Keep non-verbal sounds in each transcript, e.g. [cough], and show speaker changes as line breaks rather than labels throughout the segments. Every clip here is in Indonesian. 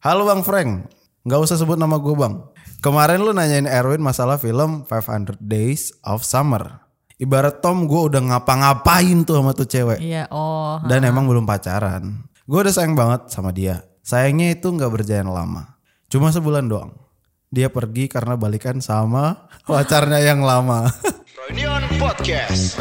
Halo Bang Frank, nggak usah sebut nama gue Bang. Kemarin lu nanyain Erwin masalah film 500 Days of Summer. Ibarat Tom gue udah ngapa-ngapain tuh sama tuh cewek.
Iya, oh.
Dan emang belum pacaran. Gue udah sayang banget sama dia. Sayangnya itu nggak berjalan lama. Cuma sebulan doang. Dia pergi karena balikan sama [laughs] pacarnya yang lama.
Reunion Podcast.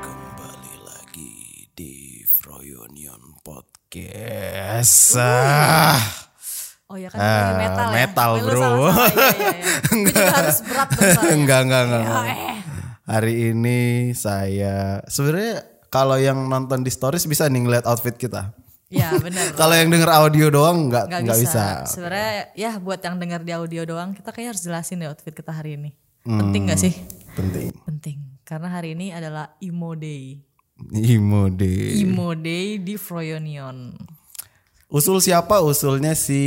Kembali lagi di Froyonion Podcast. Ah,
Oh ya kan uh, metal ya.
metal,
Lu
bro.
salah-salah,
[laughs]
iya, iya, iya. Gua juga harus berat dong soalnya.
enggak, enggak, enggak. enggak.
Eh,
Hari ini saya sebenarnya kalau yang nonton di stories bisa nih ngeliat outfit kita.
Ya benar.
Kalau yang denger audio doang nggak
Gak,
nggak
bisa.
bisa.
Sebenarnya ya buat yang dengar di audio doang kita kayaknya harus jelasin deh outfit kita hari ini.
Hmm.
Penting gak sih?
Penting.
Penting. Karena hari ini adalah Imo Day.
Imode.
Imo Day di Froyonion.
Usul siapa? Usulnya si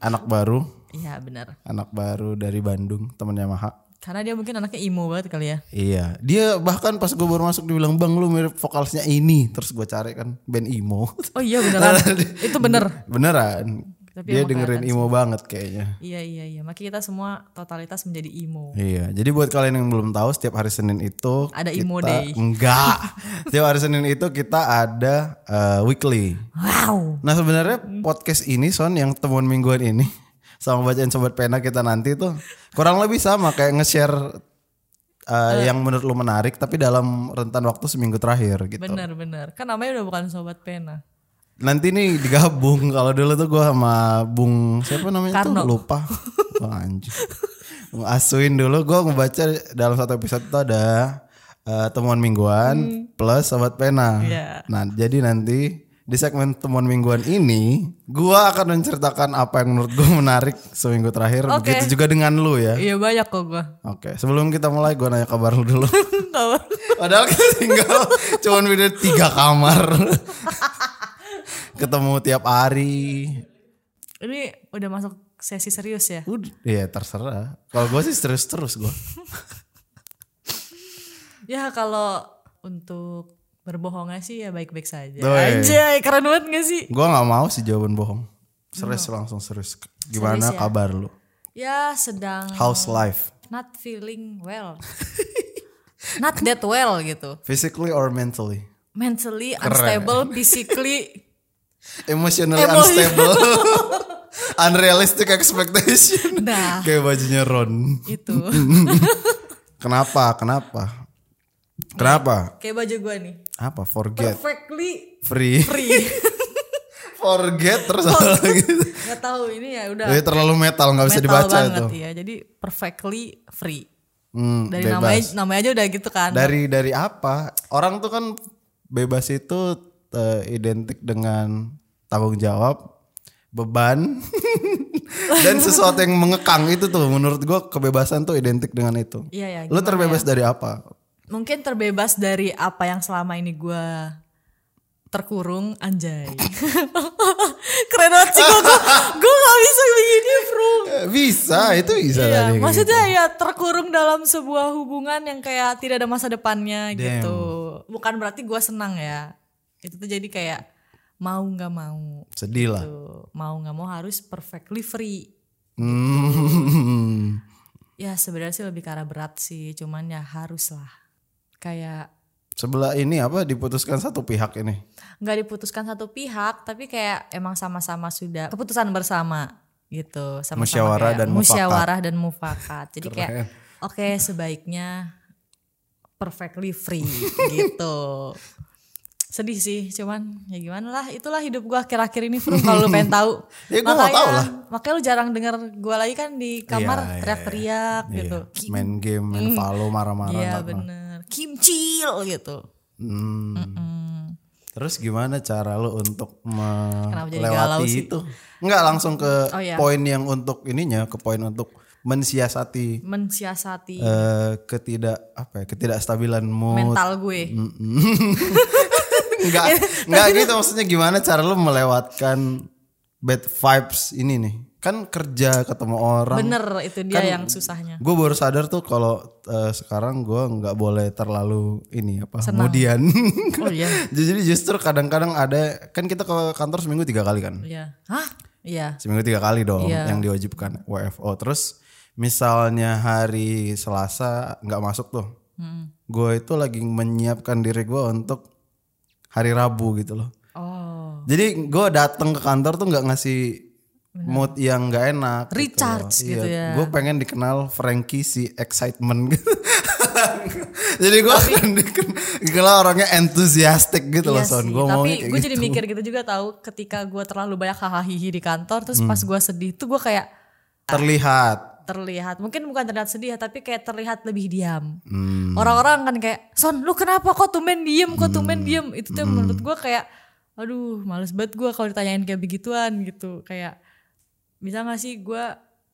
anak baru,
Iya benar.
anak baru dari Bandung, temennya Maha.
Karena dia mungkin anaknya Imo banget kali ya.
Iya, dia bahkan pas gue baru masuk dibilang bang lu mirip vokalsnya ini, terus gue cari kan band emo.
Oh iya beneran. Itu bener.
[laughs] Beneran?
Tapi
dia
emang
dengerin emo banget kayaknya.
Iya iya iya. Makanya kita semua totalitas menjadi Imo.
Iya, jadi buat kalian yang belum tahu setiap hari Senin itu
Ada
kita-
Imo Day.
[laughs] Enggak. setiap hari Senin itu kita ada eh, weekly.
Wow.
Nah, sebenarnya
Hmm.
podcast ini Son yang temuan mingguan ini [laughs] sama bacaan sobat pena kita nanti tuh kurang lebih sama kayak nge-share eh, yang menurut lu menarik tapi dalam rentan waktu seminggu terakhir gitu.
Bener bener. Kan namanya udah bukan sobat pena.
Nanti nih digabung [laughs] kalau dulu tuh gua sama Bung siapa namanya
Karno.
tuh lupa.
[laughs]
Wah anjir. Bung Asuin dulu gua ngebaca dalam satu episode itu ada eh, temuan mingguan plus sobat pena.
Hmm. Iya.
Nah, jadi nanti di segmen temuan mingguan ini gua akan menceritakan apa yang menurut gua menarik seminggu terakhir
Oke.
begitu juga dengan lu ya.
Iya banyak kok
[laughs]
gua.
Oke, sebelum kita mulai gua nanya kabar lu
[laughs]
dulu.
Tahu.
Padahal kita tinggal cuman beda tiga kamar. Ketemu tiap hari.
Ini udah masuk sesi serius ya.
Udah, ya terserah. Kalau gue sih terus terus gue.
Ya kalau untuk berbohongnya sih ya baik-baik saja.
Doi.
Anjay, keren banget gak sih?
Gue nggak mau sih jawaban bohong. Serius langsung serius. Gimana
Serius ya?
kabar lu?
Ya sedang
House life,
not feeling well. [laughs] not that well gitu.
physically or mentally?
Mentally unstable, physically [laughs]
Emotionally
Emo-
unstable. [laughs] Unrealistic expectation.
Nah.
Kayak bajunya Ron.
itu.
[laughs] Kenapa? Kenapa? Kenapa?
Kayak baju gua nih.
Apa? Forget.
Perfectly
Free. [laughs]
free.
Forget terus apa lagi?
Gak tahu ini ya udah
Jadi terlalu metal nggak Iya, bisa
metal
dibaca
banget
itu.
ya. Jadi perfectly free.
Hmm,
Dari
bebas.
namanya namanya aja udah gitu kan.
Dari dari apa? Orang tuh kan bebas itu eh, identik dengan tanggung jawab, beban, [laughs] dan sesuatu yang mengekang itu tuh. Menurut gua kebebasan tuh identik dengan itu.
Iya ya.
Lu terbebas dari apa?
mungkin terbebas dari apa yang selama ini gue terkurung anjay [laughs] keren banget sih gue gue gak bisa begini bro
Eh, Bisa, itu bisa
Iya,
tadi.
maksudnya ya terkurung dalam sebuah hubungan yang kayak tidak ada masa depannya gitu bukan berarti gue senang ya itu tuh jadi kayak mau nggak mau
Sedih lah.
tuh mau nggak mau harus perfectly free
Hmm. [laughs]
ya sebenarnya sih lebih ke arah berat sih cuman ya harus lah kayak
Sebelah ini apa diputuskan satu pihak ini.
nggak diputuskan satu pihak tapi kayak emang sama-sama sudah keputusan bersama gitu sama
Musyawarah dan mufakat.
musyawarah dan mufakat jadi kayak oke sebaiknya perfectly
[laughs]
free gitu sedih sih cuman ya gimana lah itulah hidup gua akhir-akhir ini Fru kalau lu pengen tahu
[laughs] Ya, gua mau tahu lah.
makanya lu jarang denger gua lagi kan
Iya,
di
iya,
kamar
iya.
teriak-teriak gitu
Iya, main game, main follow, marah-marah.
iya
nggak pernah.
bener kimcil gitu
Hmm.
Hmm.
Terus gimana cara lo untuk
jadi galau
melewati
sih?
itu? Enggak langsung ke
Oh, iya.
poin yang untuk ininya, ke poin untuk mensiasati
mensiasati
eh, ketidak apa ya, ketidakstabilan mood.
Iya. mental gue [laughs]
Enggak, enggak gitu maksudnya gimana cara lo melewatkan bad vibes ini nih? kan kerja ketemu orang
Bener itu dia
Kan
yang
[clears throat]
susahnya.
gue baru sadar tuh kalau eh, sekarang gue nggak boleh terlalu ini apa [laughs] kemudian
Oh iya.
jadi justru kadang-kadang ada kan kita ke kantor seminggu tiga kali kan
Iya. Hah? Iya.
seminggu tiga kali dong
Iya.
yang diwajibkan WFO terus misalnya hari Selasa nggak masuk tuh
Mm.
gue itu lagi menyiapkan diri gue untuk hari Rabu gitu loh
Oh.
jadi gue datang ke kantor tuh nggak ngasih mood yang nggak enak
Recharge gitu ya.
gue pengen dikenal Frankie si excitement gitu [laughs] jadi gue akan diken- [laughs] dikenal orangnya enthusiastic gitu loh
Iya
son
sih,
gue mau
tapi
kayak
gue
gitu.
jadi mikir gitu juga tahu ketika gue terlalu banyak hahaha di kantor
Hmm.
terus pas gue sedih tuh gue kayak
terlihat
terlihat mungkin bukan terlihat sedih ya tapi kayak terlihat lebih diam
Hmm.
orang-orang kan kayak son lu kenapa kok tumben diem kok
Hmm.
tumben diem itu tuh yang menurut gue kayak aduh males banget gue kalau ditanyain kayak begituan gitu kayak bisa gak sih gue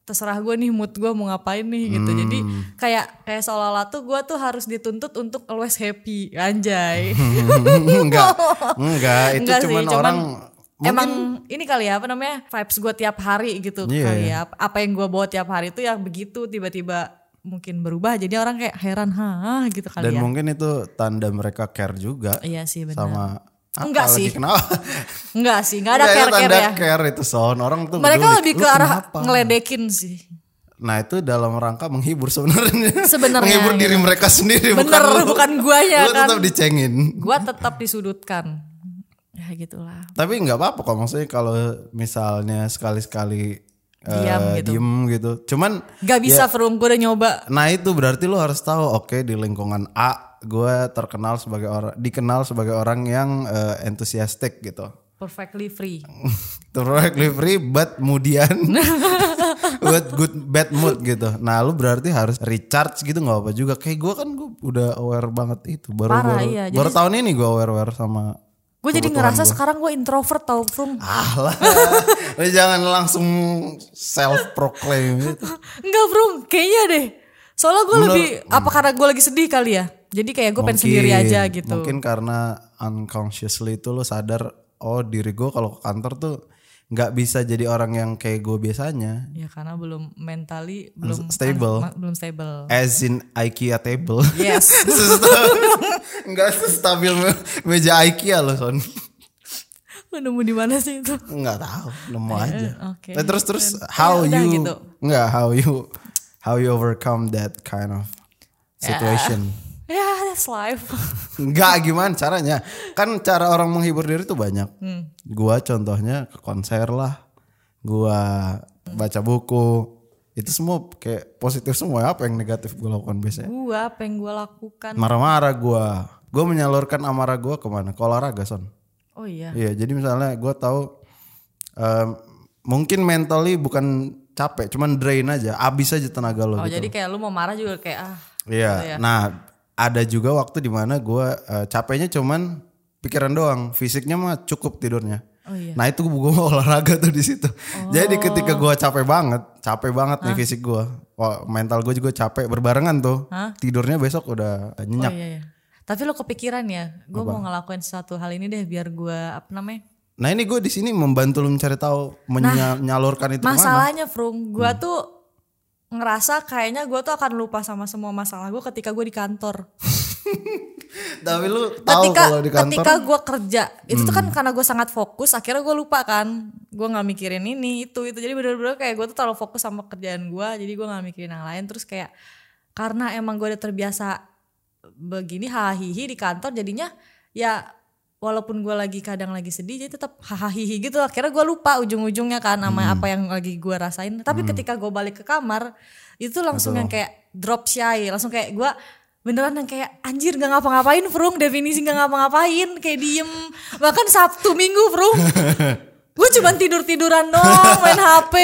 terserah gue nih mood gue mau ngapain nih
Hmm.
gitu jadi kayak kayak seolah-olah tuh gue tuh harus dituntut untuk always happy anjay
[laughs] enggak Hmm, enggak itu
Enggak sih,
cuman,
cuman
orang
[laughs] Emang ini kali ya apa namanya vibes gue tiap hari gitu
Iya.
kali ya. Apa yang gue bawa tiap hari itu yang begitu tiba-tiba mungkin berubah jadi orang kayak heran hah gitu kali
dan
ya.
mungkin itu tanda mereka care juga
Iya sih benar.
sama apa
Enggak
lagi,
sih.
kenapa
Enggak sih, enggak ada
[laughs] Enggak, itu
care-care
tanda
ya.
care itu son orang tuh
Mereka
peduli,
lebih
"Lu
ke arah
kenapa?"
ngeledekin sih.
nah itu dalam rangka menghibur sebenarnya
Sebenarnya,
menghibur
gitu.
diri mereka sendiri
Bener,
bukan, lu.
bukan guanya
Lu
kan.
tetap dicengin
Gua tetap disudutkan. Ya gitulah.
tapi nggak apa-apa kok maksudnya kalau misalnya sekali-sekali eh,
Diam gitu.
diem gitu cuman
Gak bisa Frum, gue udah nyoba.
Nah itu berarti lu harus tahu, oke di lingkungan A gue terkenal sebagai orang, dikenal sebagai orang yang eh, enthusiastic gitu. [laughs]
Perfectly free.
Perfectly free, but
[laughs]
kemudian with good bad mood gitu. Nah lu berarti harus recharge gitu nggak apa juga. Kayak gue kan gue udah aware banget itu. Baru
Parah,
baru,
iya. Jadi-
baru tahun ini gue aware aware sama. [laughs]
Gue jadi ngerasa sekarang gue introvert tau Frum.
Allah, lu jangan langsung self proclaim gitu.
Enggak bro, kayaknya deh. Soalnya gue lebih, apa karena gue lagi sedih kali ya? Jadi kayak gue pengen sendiri
Mungkin-
aja gitu.
Mungkin karena unconsciously itu lo sadar, oh diri gue kalau ke kantor tuh nggak bisa jadi orang yang kayak gue biasanya.
Ya karena belum mentally, belum
stable.
ma- belum stable.
As in IKEA
[laughs]
table.
Yes.
Enggak stabil meja IKEA loh Son.
Lu nemu di mana sih itu?
Enggak tahu, nemu aja.
Eh, oke. Ya
Nah, terus terus how
udah
you
gitu.
enggak how you how you overcome that kind of situation.
Ya, that's life.
Enggak gimana caranya? Kan cara orang menghibur diri tuh banyak. Gua contohnya ke konser lah. Gua baca buku. Itu semua kayak positif semua apa yang negatif gue lakukan biasanya?
gue apa yang gue lakukan?
Marah-marah gua. Gue menyalurkan amarah gua kemana? Ke olahraga son.
Oh iya.
Iya, jadi misalnya gua tahu em, mungkin mentally bukan capek, cuman drain aja, abis aja tenaga lo.
Oh
gitu.
jadi kayak lu mau marah juga kayak ah.
Iya. Nah, ada juga waktu dimana gue eh, capeknya cuman pikiran doang, fisiknya mah cukup tidurnya.
Oh iya. Oh.
Nah itu gue olahraga tuh di situ. Jadi ketika gue capek banget, capek banget nih fisik gue, mental gue juga capek berbarengan tuh. Tidurnya besok udah
Oh
nyenyak.
iya iya. Tapi lu kepikiran ya, gue mau ngelakuin sesuatu hal ini deh biar gue apa namanya?
Nah ini gue di sini membantu lu mencari tahu,
Nah,
menyalurkan itu kemana. Hmm.
Masalahnya Frum, gue tuh ngerasa kayaknya gue tuh akan lupa sama semua masalah gue ketika gue di kantor.
Tapi lu tahu
ketika
kalau di kantor.
ketika gue kerja itu tuh kan karena gue sangat fokus, akhirnya gue lupa kan, gue nggak mikirin ini itu itu. Jadi bener-bener kayak gue tuh terlalu fokus sama kerjaan gue, jadi gue nggak mikirin yang lain. Terus kayak karena emang gue udah terbiasa begini hahihi di kantor, jadinya ya walaupun gue lagi kadang lagi sedih jadi tetap hahaha gitu akhirnya gue lupa ujung-ujungnya kan sama apa yang lagi gue rasain tapi ketika gue balik ke kamar itu langsung yang kayak drop shy langsung kayak gue beneran yang kayak anjir gak ngapa-ngapain Frung definisi gak ngapa-ngapain kayak diem bahkan Sabtu Minggu Frung gue cuman tidur tiduran doang main HP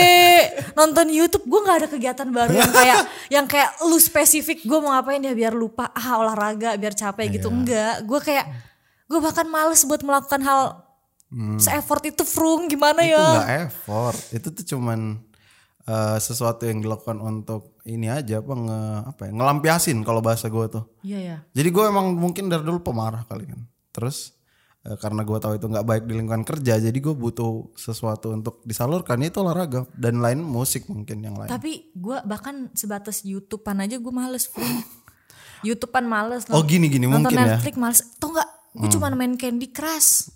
nonton YouTube gue nggak ada kegiatan baru yang kayak yang kayak lu spesifik gue mau ngapain ya biar lupa ah olahraga biar capek gitu enggak gue kayak gue bahkan males buat melakukan hal se-effort itu frung
Hmm.
gimana
itu
ya
nggak effort itu tuh cuman eh, sesuatu yang dilakukan untuk ini aja apa nge apa ya, ngelampiasin kalau bahasa gue tuh
iya ya
jadi gue emang mungkin dari dulu pemarah kali kan terus eh, karena gue tahu itu nggak baik di lingkungan kerja jadi gue butuh sesuatu untuk disalurkan itu olahraga dan lain musik mungkin yang lain
Tapi gue bahkan sebatas YouTubean aja gue males. Fri. YouTubean males.
Oh, gini-gini
nonton
mungkin ya.
Netflix males. Tau nggak? Gue cuma main Candy Crush.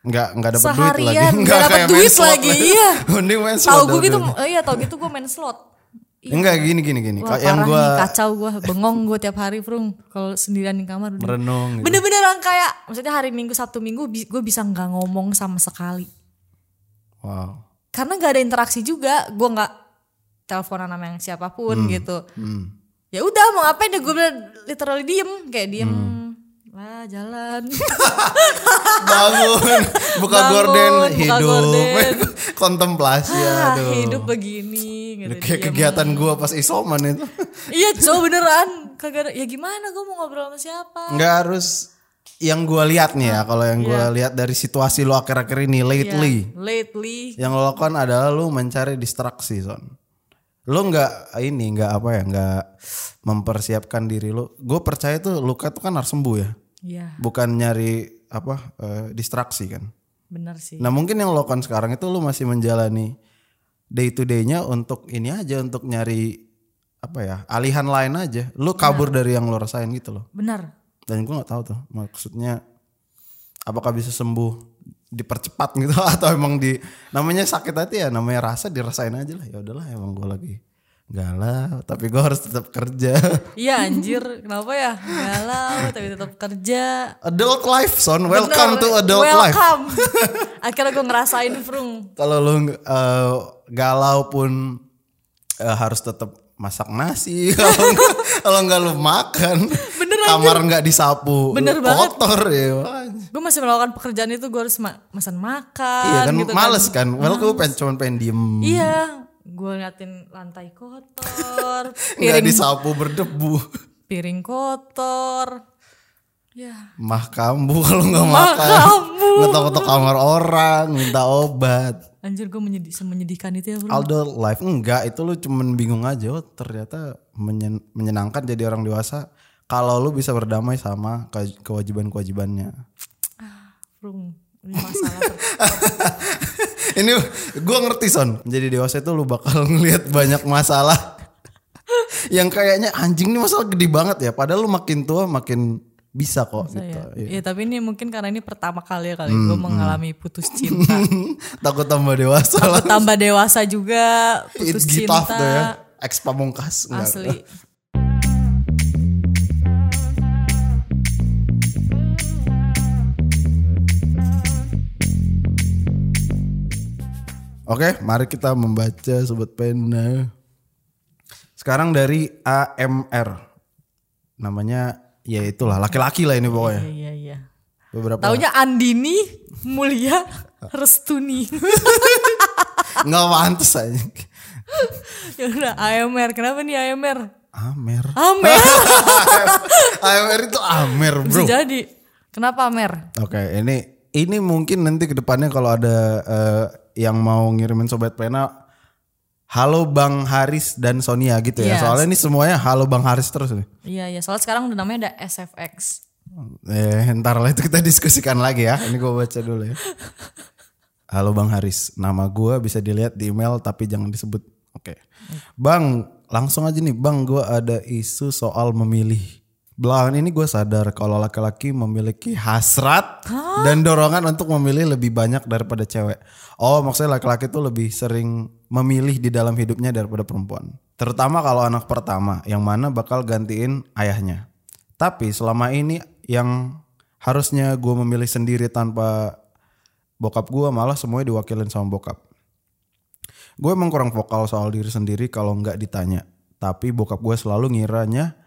nggak nggak dapat duit [laughs]
Seharian,
lagi
nggak dapet
kayak
duit
main slot
lagi, iya.
[laughs] mending main
Tahu
slot
gue gitu,
daripada-
eh, iya tahu gitu gue main slot. Iya.
enggak gini gini gini
Wah,
yang
parah
gue
nih, kacau gue bengong gue tiap hari Frung kalau sendirian di kamar udah.
merenung gitu.
bener-beneran kayak maksudnya hari minggu sabtu minggu gue bisa nggak ngomong sama sekali
wow
karena nggak ada interaksi juga gue nggak teleponan sama yang siapapun gitu
hmm.
ya udah mau ngapain ya gue literally diem kayak diem
Hmm.
lah
[laughs]
jalan
bangun buka
Bangun,
gorden
buka
hidup
gorden.
[laughs] kontemplasi
ah,
Iya, aduh
hidup begini gitu
kayak
diem.
kegiatan gue pas isoman
[laughs]
itu
iya cowok beneran kagak ada- ya gimana gue mau ngobrol sama siapa
nggak harus yang gue lihat nih ya kalau yang gue
Iya.
lihat dari situasi lo akhir-akhir ini
Ya,
lately
lately
yang lo lakukan adalah lo mencari distraksi son lo nggak ini nggak apa ya nggak mempersiapkan diri lo gue percaya tuh luka tuh kan harus sembuh ya
ya
bukan nyari apa eh, distraksi kan
bener sih
nah mungkin yang lo lakukan sekarang itu lo masih menjalani day to day-nya untuk ini aja untuk nyari apa ya alihan lain aja
Iya.
lo kabur dari yang lo rasain gitu loh
bener
dan gue nggak tahu tuh maksudnya apakah bisa sembuh dipercepat gitu [laughs] atau emang di namanya sakit hati ya namanya rasa dirasain aja lah ya udahlah emang gue lagi galau tapi gue harus tetap kerja [laughs]
Iya anjir, kenapa ya? Galau tapi tetap kerja.
adult life son welcome
Bener,
to adult life [laughs]
welcome. Akhirnya gue ngerasain Frung.
kalau lu eh, galau pun eh, harus tetap masak nasi [laughs] kalau nggak- kalau nggak lu makan
Bener,
kamar nggak disapu
kan? Bener
lu
banget.
kotor ya wah.
Gue masih melakukan pekerjaan itu gue harus ma- pesan makan.
iya kan
gitu
males kan well gue pengen cuman pengen diem
Iya, gue ngeliatin lantai kotor,
[laughs] nggak
piring
disapu berdebu
piring kotor. Ya,
mah kambuh kalau nggak
Mah
makan
kambuh.
ngetok-ngetok kamar orang minta obat
anjir gue menyedih semenyedihkan itu ya Frung.
Hmm. Aldo life enggak itu lu cuman bingung aja oh, ternyata menyen- menyenangkan jadi orang dewasa kalau lu bisa berdamai sama ke- kewajiban-kewajibannya
Frung, ini masalah. ter-
[laughs] ini gua ngerti son jadi dewasa itu lu bakal [laughs] ngelihat banyak masalah [laughs] yang kayaknya anjing nih masalah gede banget ya padahal lu makin tua makin bisa kok gitu
Ya.
Iya. Hmm,
ya tapi ini mungkin karena ini pertama kali ya kali gue mengalami
[laughs]
putus cinta.
[laughs] takut tambah dewasa lah
tambah dewasa juga putus
It get
cinta
off tuh ya. Ex pamungkas enggak. [laughs]
asli
Oke, mari kita membaca sobat pena. Sekarang dari AMR. Namanya ya itulah laki-laki lah ini pokoknya.
iya iya
Beberapa
taunya Andini Mulia Restuni [laughs]
nggak pantas aja.
ya udah AMR kenapa nih AMR [laughs]
Amer.
Amer
AMR itu Amer,
bisa
Bro. Oke,
jadi kenapa Amer
ini ini mungkin nanti ke depannya kalau ada eh, yang mau ngirimin sobat pena Halo Bang Haris dan Sonia gitu ya.
Yes.
Soalnya ini semuanya halo Bang Haris terus nih.
iya iya soalnya sekarang udah namanya ada SFX
Eh, ntar lah itu kita [laughs] diskusikan lagi ya. Ini gue baca dulu ya. Halo Bang Haris, nama gue bisa dilihat di email tapi jangan disebut. Oke. Bang, langsung aja nih. Bang, gue ada isu soal memilih. Belakangan ini gue sadar kalau laki-laki memiliki hasrat dan dorongan untuk memilih lebih banyak daripada cewek. Oh, maksudnya laki-laki tuh lebih sering memilih di dalam hidupnya daripada perempuan. Terutama kalau anak pertama, yang mana bakal gantiin ayahnya. Tapi selama ini yang harusnya gue memilih sendiri tanpa bokap gue malah semuanya diwakilin sama bokap. Gue emang kurang vokal soal diri sendiri kalau nggak ditanya. Tapi bokap gue selalu ngiranya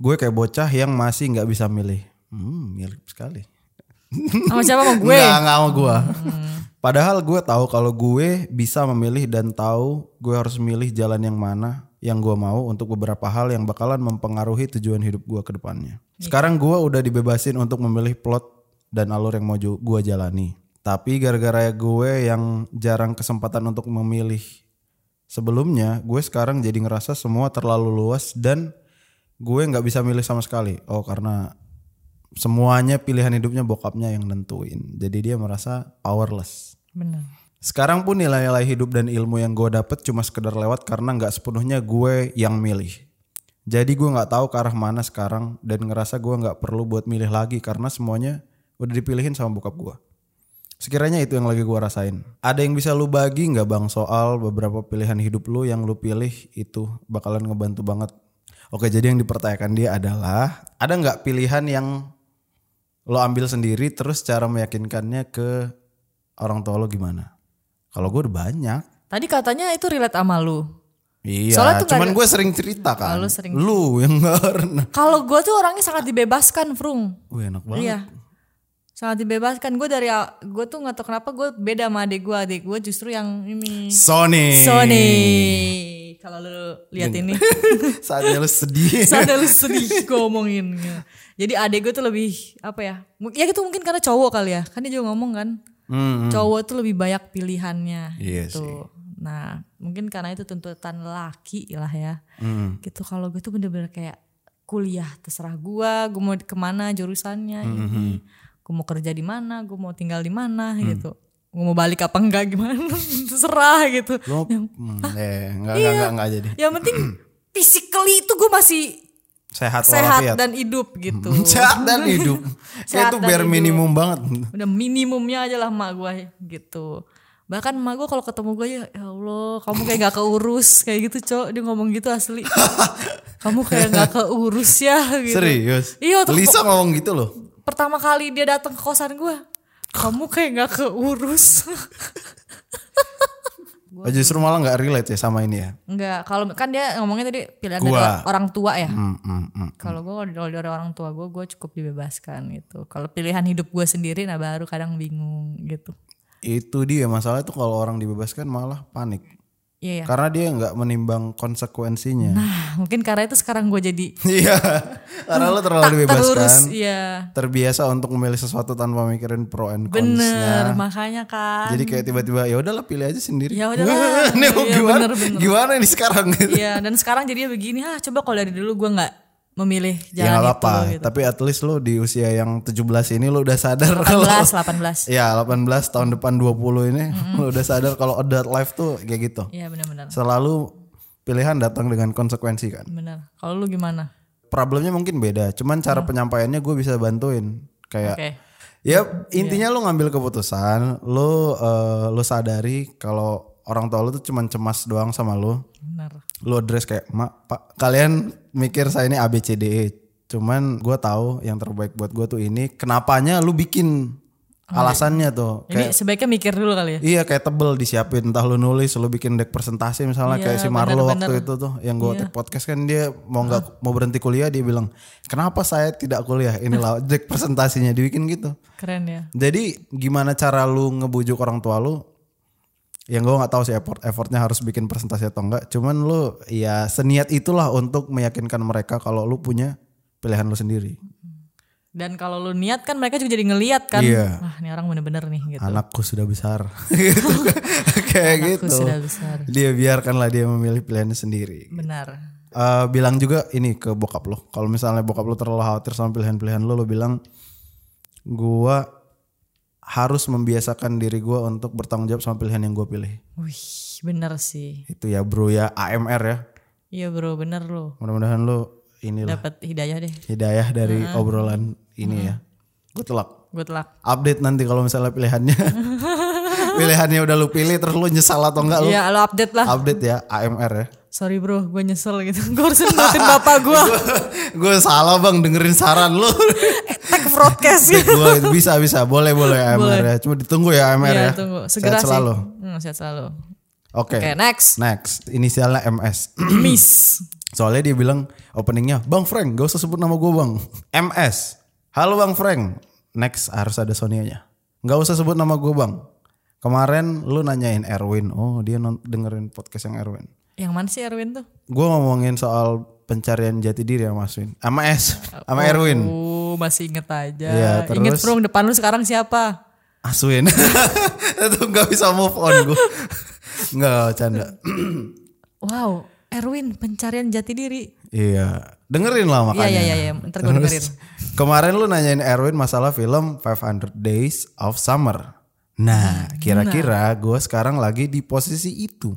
gue kayak bocah yang masih nggak bisa milih. Hmm, mirip sekali.
sama siapa sama gue Hmm.
Nggak, nggak sama gue. Padahal gue tahu kalau gue bisa memilih dan tahu gue harus milih jalan yang mana yang gue mau untuk beberapa hal yang bakalan mempengaruhi tujuan hidup gue ke depannya.
Iya.
Sekarang gue udah dibebasin untuk memilih plot dan alur yang mau ju- gue jalani. Tapi gara-gara gue yang jarang kesempatan untuk memilih sebelumnya, gue sekarang jadi ngerasa semua terlalu luas dan gue nggak bisa milih sama sekali. Oh karena semuanya pilihan hidupnya bokapnya yang nentuin. Jadi dia merasa powerless.
benar
Sekarang pun nilai-nilai hidup dan ilmu yang gue dapet cuma sekedar lewat karena nggak sepenuhnya gue yang milih. Jadi gue nggak tahu ke arah mana sekarang dan ngerasa gue nggak perlu buat milih lagi karena semuanya udah dipilihin sama bokap gue. Sekiranya itu yang lagi gue rasain. Ada yang bisa lu bagi nggak bang soal beberapa pilihan hidup lu yang lu pilih itu bakalan ngebantu banget. Oke jadi yang dipertanyakan dia adalah ada nggak pilihan yang lo ambil sendiri terus cara meyakinkannya ke orang tua lo gimana? Kalau gue udah banyak.
tadi katanya itu relate sama lu
Iya,
Soalnya tuh
cuman
nggak ada-
gue sering cerita kan.
Oh, lu sering-
Lu yang [laughs] gak pernah.
kalau gue tuh orangnya sangat dibebaskan Frung
Wih enak banget.
Iya. Sangat dibebaskan. Gue dari gue tuh nggak tau kenapa gue beda sama adik gue. Adik gue justru yang ini.
Sony.
Sony. Kalau lu lihat ini, [laughs]
Saatnya lu sedih.
sadar lu sedih gue ngomongin. Jadi adik gue tuh lebih apa ya? mu- Ya gitu mungkin karena cowok kali ya. Kan dia juga ngomong kan,
Hmm,
cowok tuh lebih banyak pilihannya.
Iya
gitu.
sih.
Nah, mungkin karena itu tuntutan laki lah ya
hmm.
gitu kalau gue tuh bener-bener kayak kuliah terserah gue gue mau kemana jurusannya
Hmm,
ini gue mau kerja di mana gue mau tinggal di mana
Hmm.
gitu gue mau balik apa enggak gimana [laughs] terserah gitu
Lu, hmm, eh, enggak, enggak, enggak, enggak jadi.
yang penting physically itu gue masih
Sehat,
sehat [laughs]
walafiat.
dan hidup gitu
Hmm, [laughs] Sehat dan hidup. Kayak
Sehat
itu
dan
bare
hidup. Gitu.
minimum banget.
udah minimumnya aja lah emak gue gitu bahkan emak gue kalau ketemu gue ya ya allah kamu kayak nggak keurus kayak gitu cok dia ngomong gitu
[laughs]
asli kamu kayak nggak keurus ya gitu
Serius.
Iya, waktu-
Lisa ngomong gitu loh.
pertama kali dia datang ke kosan gue kamu kayak nggak keurus [laughs]
Oh, justru malah nggak relate ya sama ini ya.
nggak kalau kan dia ngomongnya tadi pilihan dari
Gua.
orang tua ya
Hmm, hmm, hmm.
kalau gue kalau dari orang tua gue gue cukup dibebaskan gitu kalau pilihan hidup gue sendiri nah baru kadang bingung gitu
Itu dia masalah itu kalau orang dibebaskan malah panik.
iya ya
Karena dia nggak menimbang konsekuensinya.
nah mungkin karena itu sekarang gue jadi
[laughs] Iya, karena lo terlalu
Hmm,
kan?
tak terurus
dibebaskan.
iya
Terbiasa untuk memilih sesuatu tanpa mikirin pro and
bener
cons-nya.
makanya kan
Jadi kayak tiba-tiba ya udahlah pilih aja sendiri. [laughs]
Ya udahlah.
Ini mau
Iya,
gimana?
bener, bener.
Gimana ini sekarang [laughs] gitu?
iya dan sekarang jadinya begini ah coba kalau dari dulu gue nggak memilih
Ya nggak
jalan
apa-apa,
itu gitu.
tapi at least lo di usia yang 17 ini lo udah sadar kalau
18 18
[laughs] Ya 18 tahun depan 20 ini [laughs] lo udah sadar kalau adult life tuh kayak gitu.
iya benar-benar
Selalu pilihan datang dengan konsekuensi kan.
benar kalau lu gimana
Problemnya mungkin beda, cuman cara penyampaiannya gue bisa bantuin. Kayak
Oke.
Ya intinya lu ngambil keputusan, lu eh, lu sadari kalau orang tua lu tuh cuman cemas doang sama lu.
Benar.
Lu address kayak, "Mak, Pak, kalian mikir saya ini ABCDE. E. Cuman gua tahu yang terbaik buat gua tuh ini. Kenapanya lu bikin alasannya tuh
Jadi
kayak
sebaiknya mikir dulu kali ya.
Iya kayak tebel disiapin entah lu nulis lu bikin deck presentasi misalnya
Iya,
kayak si Marlo
bener-bener. Iya.
waktu itu tuh yang gue take podcast kan dia mau nggak mau berhenti kuliah dia bilang kenapa saya tidak kuliah inilah
[laughs]
deck presentasinya dibikin gitu
Keren ya.
jadi gimana cara lu ngebujuk orang tua lu? Yang gue nggak tahu sih effort effortnya harus bikin presentasi atau enggak. Cuman lu ya seniat itulah untuk meyakinkan mereka kalau lu punya pilihan lu sendiri.
Dan kalau lu niat kan mereka juga jadi ngeliat kan.
Iya.
Wah, ini orang bener-bener nih gitu.
Anakku sudah
[laughs]
besar. Gitu kan. Kayak
Anakku
gitu.
sudah besar.
Dia biarkanlah dia memilih pilihannya sendiri.
Benar.
Eh, bilang juga ini ke bokap lo. Kalau misalnya bokap lo terlalu khawatir sama pilihan-pilihan lo, lo bilang gua harus membiasakan diri gua untuk bertanggung jawab sama pilihan yang gua pilih.
Wih, bener sih.
Itu ya bro ya AMR ya.
Iya bro, bener lo.
Mudah-mudahan lo inilah
Dapat hidayah deh.
hidayah dari obrolan ini ya. Good luck.
Good luck.
Update nanti kalau misalnya pilihannya pilihannya udah lu pilih terus lu nyesal atau enggak lu
Iya, lo update lah.
update ya AMR ya. [laughs]
Sorry bro, gue nyesel gitu. [laughs] Gue harus nurutin bapak gue.
gue salah bang dengerin saran lu.
Tag broadcast [laughs] gitu.
Gua bisa bisa boleh boleh AMR ya. Cuma ditunggu ya AMR
Iya,
ya.
tunggu.
Sehat
Segera sih.
selalu.
Hmm, sehat selalu.
Oke.
Oke,
[clears throat]
next.
Next, inisialnya MS.
Miss.
[clears throat] Soalnya dia bilang openingnya, Bang Frank, gak usah sebut nama gue Bang. [laughs] MS, halo Bang Frank. Next harus ada Sonianya. Gak usah sebut nama gue Bang. Kemarin lu nanyain Erwin, oh dia non- dengerin podcast yang Erwin.
Yang mana sih Erwin tuh?
Gue ngomongin soal pencarian jati diri sama Swin, sama S,
[laughs]
sama Erwin.
Oh, masih inget aja.
Iya, terus-
inget bro, depan lu sekarang siapa?
Aswin, [laughs] itu gak bisa move on [laughs] gue. Enggak, canda.
Wow, Erwin pencarian jati diri.
Iya, dengerin lah
Iya
makanya.
iya iya, iya. ntar gue dengerin.
Kemarin lu nanyain Erwin masalah film 500 Days of Summer. Nah, kira-kira gue sekarang lagi di posisi itu.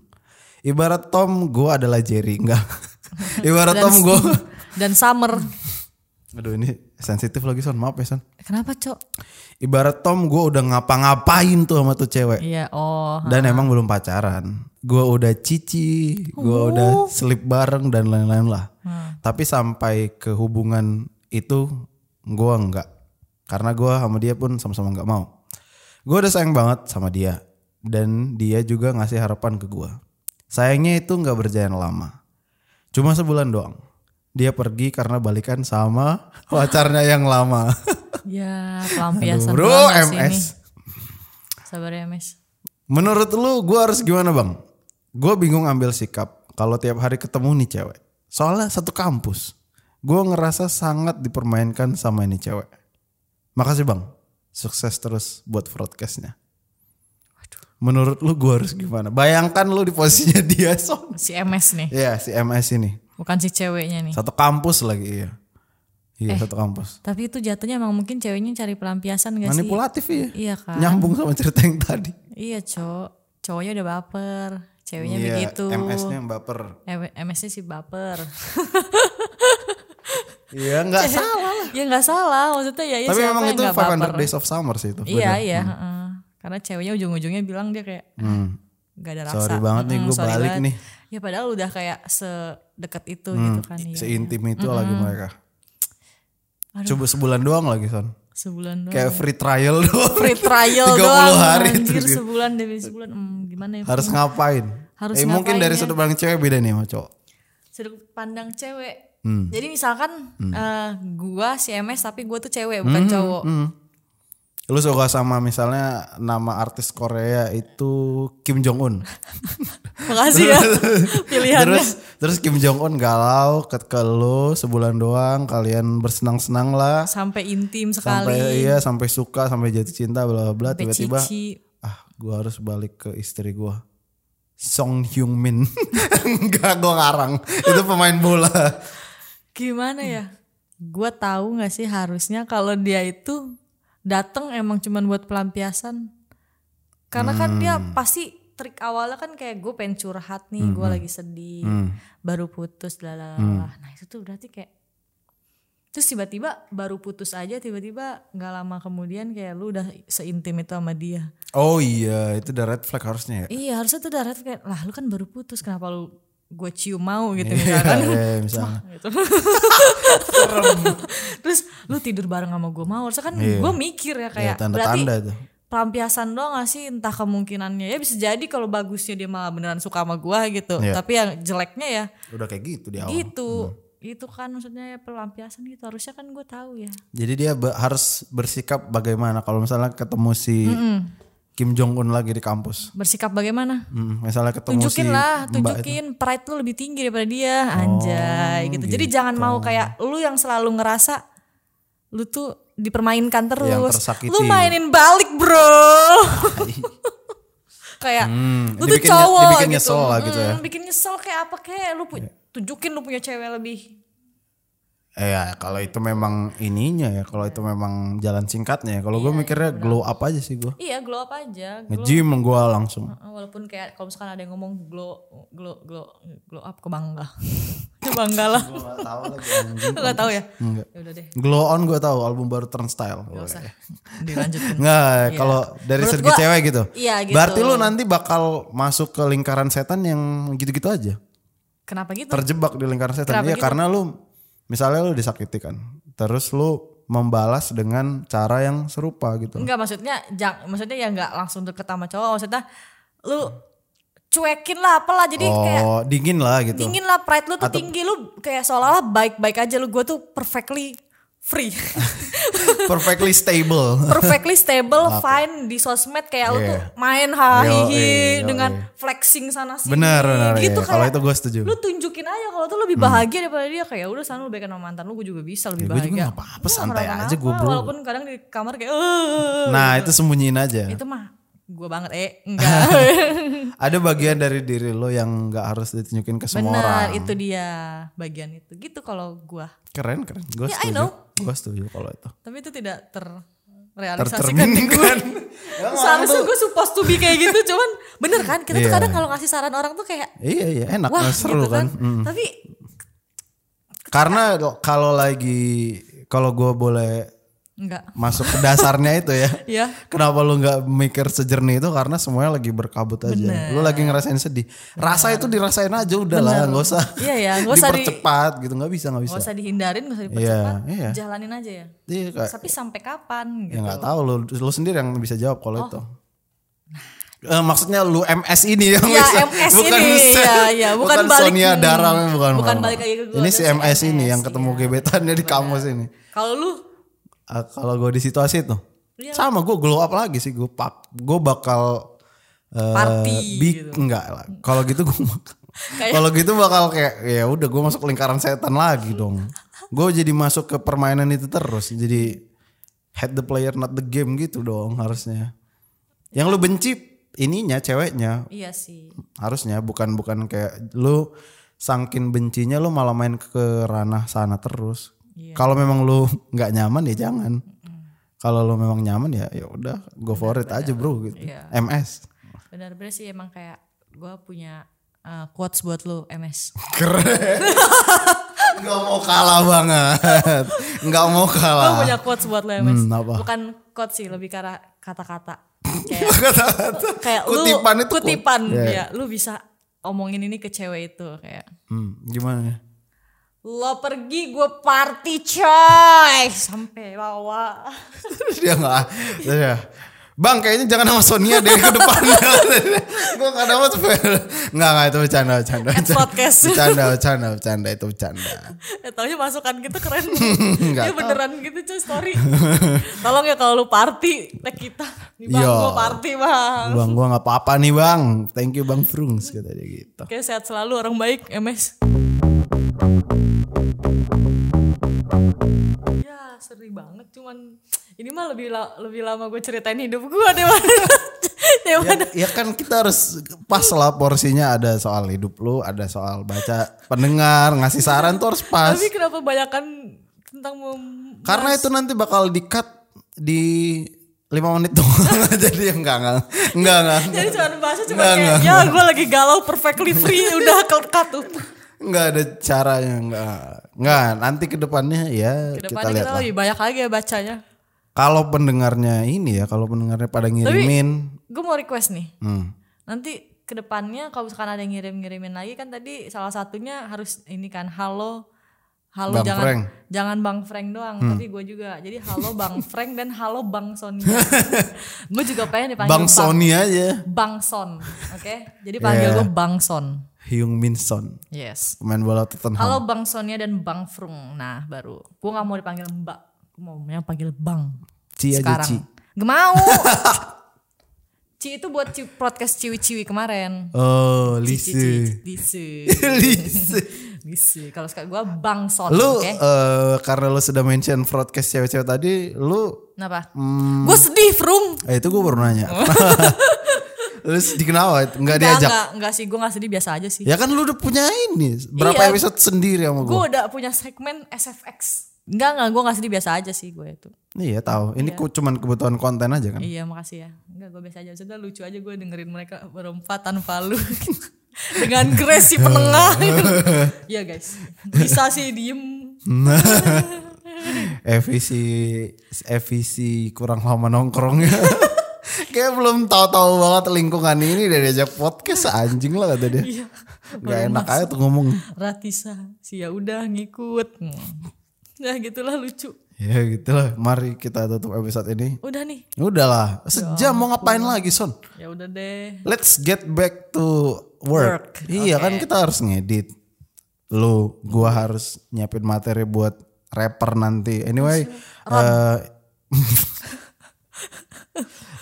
Ibarat Tom, gue adalah Jerry.
[laughs]
Enggak. Ibarat Tom gue.
dan summer.
[laughs] Aduh ini sensitif lagi Son. Maaf ya Son.
Kenapa, Cok?
Ibarat Tom gue udah ngapa-ngapain tuh sama tuh cewek.
Iya, oh.
Dan emang belum pacaran. Gue udah cici, gue udah sleep bareng dan lain-lain lah. Tapi sampai ke hubungan itu gue enggak. Karena gue sama dia pun sama-sama enggak mau. Gue udah sayang banget sama dia. Dan dia juga ngasih harapan ke gue. Sayangnya itu enggak berjalan lama. Cuma sebulan doang. Dia pergi karena balikan sama [laughs] pacarnya yang lama.
Ya, pelampiasan
Bro
banget sih ini.
MS.
Sabar ya, Mes.
Menurut lu gue harus gimana bang? Gue bingung ambil sikap kalau tiap hari ketemu nih cewek. Soalnya satu kampus. Gue ngerasa sangat dipermainkan sama ini cewek. Makasih bang. Sukses terus buat broadcastnya. Menurut lu gue harus gimana? Bayangkan lu di posisinya [laughs] dia son.
Si MS nih,
Ya si MS ini.
bukan si ceweknya nih.
Satu kampus lagi iya.
Eh,
Iya satu kampus.
Tapi itu jatuhnya emang mungkin ceweknya cari pelampiasan gak sih?
Manipulatif iya.
Iya kan?
Nyambung sama cerita yang tadi.
Iya, Cok. Cowoknya udah baper, ceweknya
Iya,
begitu.
MS-nya yang baper.
Eh, MS-nya si baper.
Iya nggak salah.
[laughs] ya nggak salah, maksudnya ya, ya
Tapi
siapa
memang
yang
itu
nggak baper?
500 Days of Summer sih itu.
Iya,
bener.
iya, heeh. Karena ceweknya ujung-ujungnya bilang dia kayak
Hmm.
nggak ada rasa.
Sorry banget nih
Mm,
gue
sorry
balik
banget.
nih. Hmm.
Ya padahal udah kayak sedekat itu gitu kan ya.
Seintim itu lagi mereka.
Aduh.
Coba sebulan doang lagi Son.
Sebulan doang.
Kayak free trial [laughs] doang.
free
[laughs]
trial
30
doang.
hari
anjir,
terus gitu.
sebulan demi sebulan. Hmm, gimana ya?
Harus ngapain?
Harus
eh, mungkin dari
ngapain ya?
sudut pandang cewek beda nih sama cowok.
Sudut pandang cewek.
Hmm.
Jadi misalkan eh, gua si MS tapi gua tuh cewek bukan
Hmm.
cowok.
Lu suka sama misalnya nama artis Korea itu Kim Jong
[laughs]
Un.
Makasih ya [laughs] pilihannya.
terus terus Kim Jong Un galau ke, ke lu sebulan doang kalian bersenang-senang lah
Sampai intim
sampai
sekali.
iya sampai suka sampai jatuh cinta bla bla bla
sampai
tiba-tiba
cici.
ah gua harus balik ke istri gua Song Hyung Min [laughs] enggak gue ngarang itu pemain bola
Gimana ya? Gua tahu nggak sih harusnya kalau dia itu datang emang cuman buat pelampiasan. Karena kan dia pasti trik awalnya kan kayak gue pengen curhat nih, gua lagi sedih, baru putus, lalala. Nah itu tuh berarti kayak terus tiba-tiba baru putus aja, tiba-tiba nggak lama kemudian kayak lu udah seintim itu sama dia.
oh iya itu udah red flag harusnya ya
Iya harusnya tuh darat kayak lah lu kan baru putus, kenapa lu gue cium mau gitu misalkan.
[laughs] Iya, misalnya
gitu. [laughs] Terus lu tidur bareng sama gue mau, harusnya kan gue mikir
ya,
ya kayak berarti
tanda-tanda itu
pelampiasan doang gak sih entah kemungkinannya ya bisa jadi kalau bagusnya dia malah beneran suka sama gue gitu,
Iya.
tapi yang jeleknya ya
udah kayak gitu di awal
gitu. Itu kan maksudnya ya pelampiasan gitu harusnya kan gue tahu ya.
jadi dia be- harus bersikap bagaimana kalau misalnya ketemu si Kim Jong Un lagi di kampus
Bersikap bagaimana?
Hmm, misalnya ketemu si
Tunjukin
Mbak
lah,
itu.
tunjukin pride lu lebih tinggi daripada dia,
Oh,
anjay gitu. Jadi jangan mau kayak lu yang selalu ngerasa lu tuh dipermainkan terus.
tersakiti.
Lu mainin balik,
[laughs]
Bro. kayak lu tuh
Hmm, dibikin-
cowok
dibikin
gitu.
nyesel lah gitu ya.
Hmm, bikin nyesel kayak apa kayak lu pu- tunjukin lu punya cewek lebih.
Eh, ya kalau itu memang ininya ya kalau itu memang jalan singkatnya ya kalau gue mikirnya glow up aja sih gue
Iya, glow up aja. Iya, Glow.
nge-gym gue langsung
Walaupun kayak kalau misalkan ada yang ngomong glow glow glow glow up ke bangga. [laughs] Ya bangga lah.
Gak tahu lagi anjing.
Enggak tahu ya.
Enggak.
Ya udah deh.
Glow on gue tahu album baru Turnstile.
Gak usah dilanjutin.
Enggak, kalau dari
Menurut
segi
gua,
cewek gitu.
[laughs] iya gitu.
Berarti lu nanti bakal masuk ke lingkaran setan yang gitu-gitu aja.
Kenapa gitu?
Terjebak di lingkaran setan.
Kenapa
Iya,
gitu?
karena lu misalnya lu disakiti kan. Terus lu membalas dengan cara yang serupa gitu.
Enggak maksudnya jang, maksudnya ya enggak langsung deket sama cowok maksudnya lu cuekin lah apalah jadi Iya, kayak
oh, dingin lah gitu.
dingin lah pride lu tuh tinggi lu kayak seolah-olah baik-baik aja lu gue tuh perfectly
[laughs]
free
[laughs] Perfectly
[laughs]
stable.
perfectly stable fine di sosmed kayak lu tuh
Iya.
main hahihi
Yoi,
dengan
yoi.
flexing sana sini
benar, benar.
gitu
iya. Kalau
kayak
itu Hmm. gue setuju.
lu tunjukin aja kalau tuh lebih bahagia daripada dia kayak udah sana lu baikan sama mantan lu gue juga bisa lebih
gue
bahagia
Iya, juga gak apa-apa,
Gua
santai
kenapa-napa,
aja gua, bro.
walaupun kadang di kamar kayak "Eh,
Nah, itu sembunyiin
[laughs]
aja.
itu mah gue banget eh enggak
Ada bagian dari diri lo yang nggak harus ditunjukin ke [laughs] semua
Benar,
orang.
itu dia bagian itu. Gitu kalau gua.
Keren, keren. Gue
Ya
setuju.
I know.
Gue setuju kalau itu.
Tapi itu tidak terrealisasikan [laughs] di gue.
Tercerminkan. Emang orang
Seharusnya
tuh-
gue supposed to be kayak gitu, cuman bener kan? Kita tuh
Iya.
kadang kalau ngasih saran orang tuh kayak
Iya iya enak
wah
seru
gitu kan.
kan. Mm.
Tapi
Karena kalau lagi kalau gue boleh
enggak.
masuk ke dasarnya itu
[laughs]
ya.
Iya.
Kenapa lu nggak mikir sejernih itu karena semuanya lagi berkabut aja. Lu lagi ngerasain sedih. Rasa itu dirasain aja udah lah, nggak usah.
Iya, ya, nggak usah di-
dipercepat gitu, nggak bisa nggak bisa.
Gak usah dihindarin, gak usah
Iya,
dipercepat.
iya.
Jalanin aja ya.
Iya kayak
Tapi sampai kapan
ya
gitu. Oh.
nggak tahu lu lu sendiri yang bisa jawab kalau itu. Eh, maksudnya lu MS ini yang
Iya,
bisa.
MS
[laughs]
ini, iya, iya. Bukan balik-
Sonia Dara bukan.
bukan balik lagi ke gua,
Ini si
terus
MS ini
MS,
yang ketemu
iya.
gebetannya di kampus ini.
Kalau lu
Ah, kalau gue di situasi itu
Iya.
sama gue glow up lagi sih gue pap gue bakal eh,
Party
big enggak lah kalau gitu gue [laughs] bakal-
Kayak-
kalau gitu bakal kayak ya udah gue masuk lingkaran setan lagi dong gue jadi masuk ke permainan itu terus jadi head the player not the game gitu dong harusnya yang lu benci ininya ceweknya
iya sih.
harusnya bukan bukan kayak lu sangkin bencinya lu malah main ke ranah sana terus
Iya.
kalau memang lu [laughs] nggak nyaman ya jangan kalau lu memang nyaman ya ya udah go for it aja bro gitu
Iya.
ms
Benar-benar sih emang kayak gue punya eh, quotes buat lu MS.
[laughs] keren nggak mau kalah
[laughs]
banget nggak mau
Gue
kalah
punya quotes buat lo ya mas.
Hmm, apa?
Bukan quotes sih, lebih karena
[laughs]
kata-kata. Kayak, kayak lu
Kutipan itu quote.
kutipan
Iya.
ya. Lu bisa omongin ini ke cewek itu kayak
Hmm, gimana
lo pergi gue party coy sampai bawa
dia nggak terus ya, bang kayaknya jangan sama Sonia deh ke depan [laughs] gue nggak dapat nggak nggak itu bercanda bercanda
At
bercanda.
podcast.
bercanda bercanda bercanda itu bercanda
ya taunya masukan gitu
[laughs]
keren
Nggak
dia
tahu.
beneran gitu coy story tolong ya kalau lu party tag kita nih bang
Yo.
gue party bang
bang gue nggak apa-apa nih bang thank you bang Frungs kata dia gitu
Oke sehat selalu orang baik MS. Ya seri banget cuman ini mah lebih la- lebih lama gue ceritain hidup gue deh. Wan. Ya, Wan.
[laughs] ya kan kita harus pas lah porsinya ada soal hidup lu ada soal baca pendengar ngasih saran tuh harus pas
Tapi kenapa banyakan tentang mem-
karena itu nanti bakal di cut di lima menit doang [laughs] jadi ya enggak enggak enggak enggak
jadi cuma bahasa cuma
Nggak,
kayak
nggak,
ya gue lagi galau perfectly
[laughs]
free udah kekat tuh.
Enggak ada caranya, enggak. Enggak, nanti ke depannya ya kita
Kedepannya kita,
lihat lah.
lebih banyak lagi ya bacanya.
Kalau pendengarnya ini ya, kalau pendengarnya pada ngirimin,
Gue mau request nih.
hmm,
Nanti kedepannya kalau misalkan ada yang ngirim-ngirimin lagi kan tadi salah satunya harus ini kan halo halo
Bang
jangan
Frank. Hmm.
jangan Bang Frank doang tapi gue juga jadi halo
[laughs]
Bang Frank dan halo Bang Sonia gue juga pengen dipanggil
Bang Sony aja,
Bang Son oke jadi panggil
Yeah.
gue Bang Son
Hyung Min Son,
yes
pemain bola Tottenham.
halo Bang Sonia dan Bang Frung nah baru gue nggak mau dipanggil Mbak gue maunya panggil Bang
Ci aja Ci.
sekarang gak
[laughs]
mau Ci itu buat ci- podcast ciwi-ciwi kemarin
Oh,
Cici,
Lise.
Lise.
[laughs] Lise.
Lise. Kalau suka gue Bang Son,
Lu
oke?
eh, karena lu sudah mention broadcast cewek-cewek tadi, lu hmm,
Kenapa? Gue sedih, Frung.
eh itu gue baru [laughs] nanya. lu sedih kenapa? Enggak
Nggak,
diajak.
nggak, nggak sih, gue nggak sedih biasa aja sih.
Ya kan lu udah punya ini. Berapa
Iya.
episode sendiri sama
Gue
gue?
udah punya segmen SFX. Enggak, enggak, gue nggak sedih biasa aja sih gue itu.
Iya, tahu. Ini ku- cuman kebutuhan konten aja kan.
Iya, makasih ya. Enggak, gue biasa aja. Sudah lucu aja gue dengerin mereka berempat tanpa lu. [laughs] Dengan grace si penengah. Iya guys, bisa sih diem.
Evisi evisi kurang lama nongkrongnya. [laughs] Kayak belum tahu-tahu banget lingkungan ini dari diajak podcast anjing lah kata dia.
Iya.
Gak enak aja tuh ngomong.
Ratisa, sih ya udah ngikut. Nah gitulah lucu.
Ya gitu lah. Mari kita tutup episode ini.
Udah nih.
Udahlah, sejam mau ngapain lagi Son?
Ya udah deh.
Let's get back to work.
Work,
Iya kan kita harus ngedit. Lu, gua harus nyiapin materi buat rapper nanti. Anyway, eh [laughs]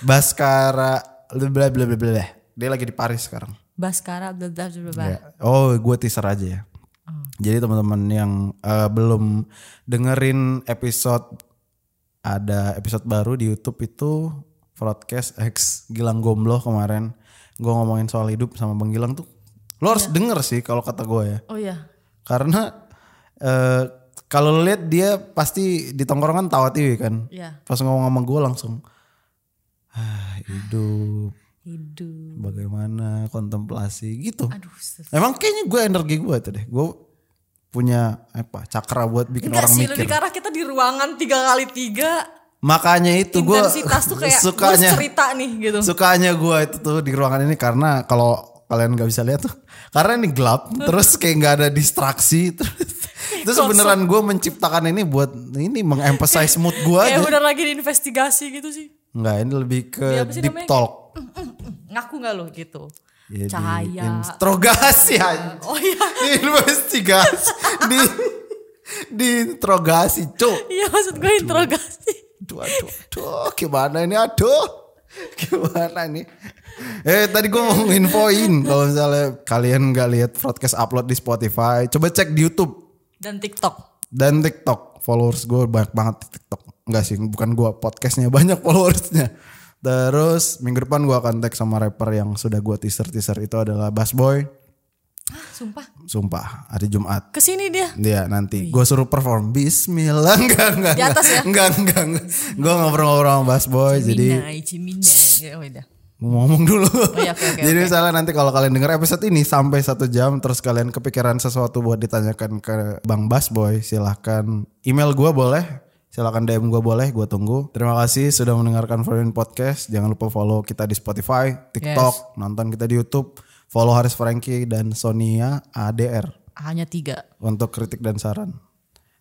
Baskara bla bla bla bla. Dia lagi di Paris sekarang.
Baskara bla bla bla bla.
Ya. Oh, gue teaser aja ya. Jadi teman-teman yang eh, belum dengerin episode ada episode baru di YouTube itu broadcast X Gilang Gombloh kemarin. Gue ngomongin soal hidup sama Bang Gilang tuh. Lo harus denger sih kalau kata gue ya.
Oh iya.
Karena eh, Kalau lu lihat dia pasti di tongkrongan tawa TV kan.
Iya.
Pas ngomong sama gue langsung ah, hidup
hidup
bagaimana kontemplasi gitu.
aduh se-
Emang kayaknya gue energi gue tuh deh. Gue punya apa cakra buat bikin
enggak
orang
sih
mikir.
lebih karena kita di ruangan tiga kali tiga
Makanya itu gue
intensitas tuh
[laughs]
kayak gue harus
sukanya
cerita nih gitu
sukanya gue itu tuh di ruangan ini karena kalau kalian nggak bisa lihat tuh karena ini gelap terus kayak nggak ada distraksi [laughs] terus terus
Kosong.
beneran gue menciptakan ini buat ini mengemphasize mood gue
kayak
aja
bener lagi diinvestigasi gitu sih
nggak ini lebih ke
Dia Iya, apa sih
deep
namanya?
talk
ngaku nggak lo gitu
Ya, di
cahaya
introgasi aja
[laughs] oh iya
di investigasi di di introgasi cuk
iya maksud gue interogasi
aduh aduh aduh gimana ini aduh gimana nih eh tadi gue mau infoin kalau misalnya kalian nggak lihat podcast upload di Spotify coba cek di YouTube
dan TikTok
dan TikTok followers gue banyak banget di TikTok nggak sih bukan gue podcastnya banyak followersnya terus minggu depan gue akan tag sama rapper yang sudah gue teaser teaser itu adalah Bass Boy
Hah, sumpah
sumpah hari Jumat
kesini dia
Iya nanti gue suruh perform Bismillah [laughs] enggak enggak
Di atas ya?
enggak enggak, enggak. gue ngobrol-ngobrol sama Bass Boy jadi
Minai, Ciminai, oh iya.
ngomong dulu.
iya, oke, oke,
[laughs] Jadi
oke.
misalnya nanti kalau kalian dengar episode ini sampai satu jam terus kalian kepikiran sesuatu buat ditanyakan ke Bang Bas Boy, silahkan email gua boleh, silahkan DM gua boleh, gua tunggu. Terima kasih sudah mendengarkan Foreign Podcast. Jangan lupa follow kita di Spotify, TikTok, nonton kita di YouTube, follow Haris Franky dan Sonia ADR
hanya tiga
untuk kritik dan saran.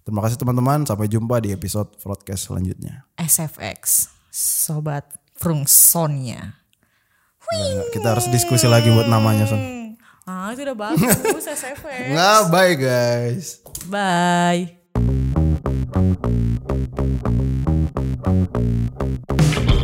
Terima kasih teman-teman, sampai jumpa di episode podcast selanjutnya.
SFX sobat Frungsonia
Enggak, kita harus diskusi lagi buat namanya, Son.
ah itu udah bagus SFX
Nggak, bye guys.
bye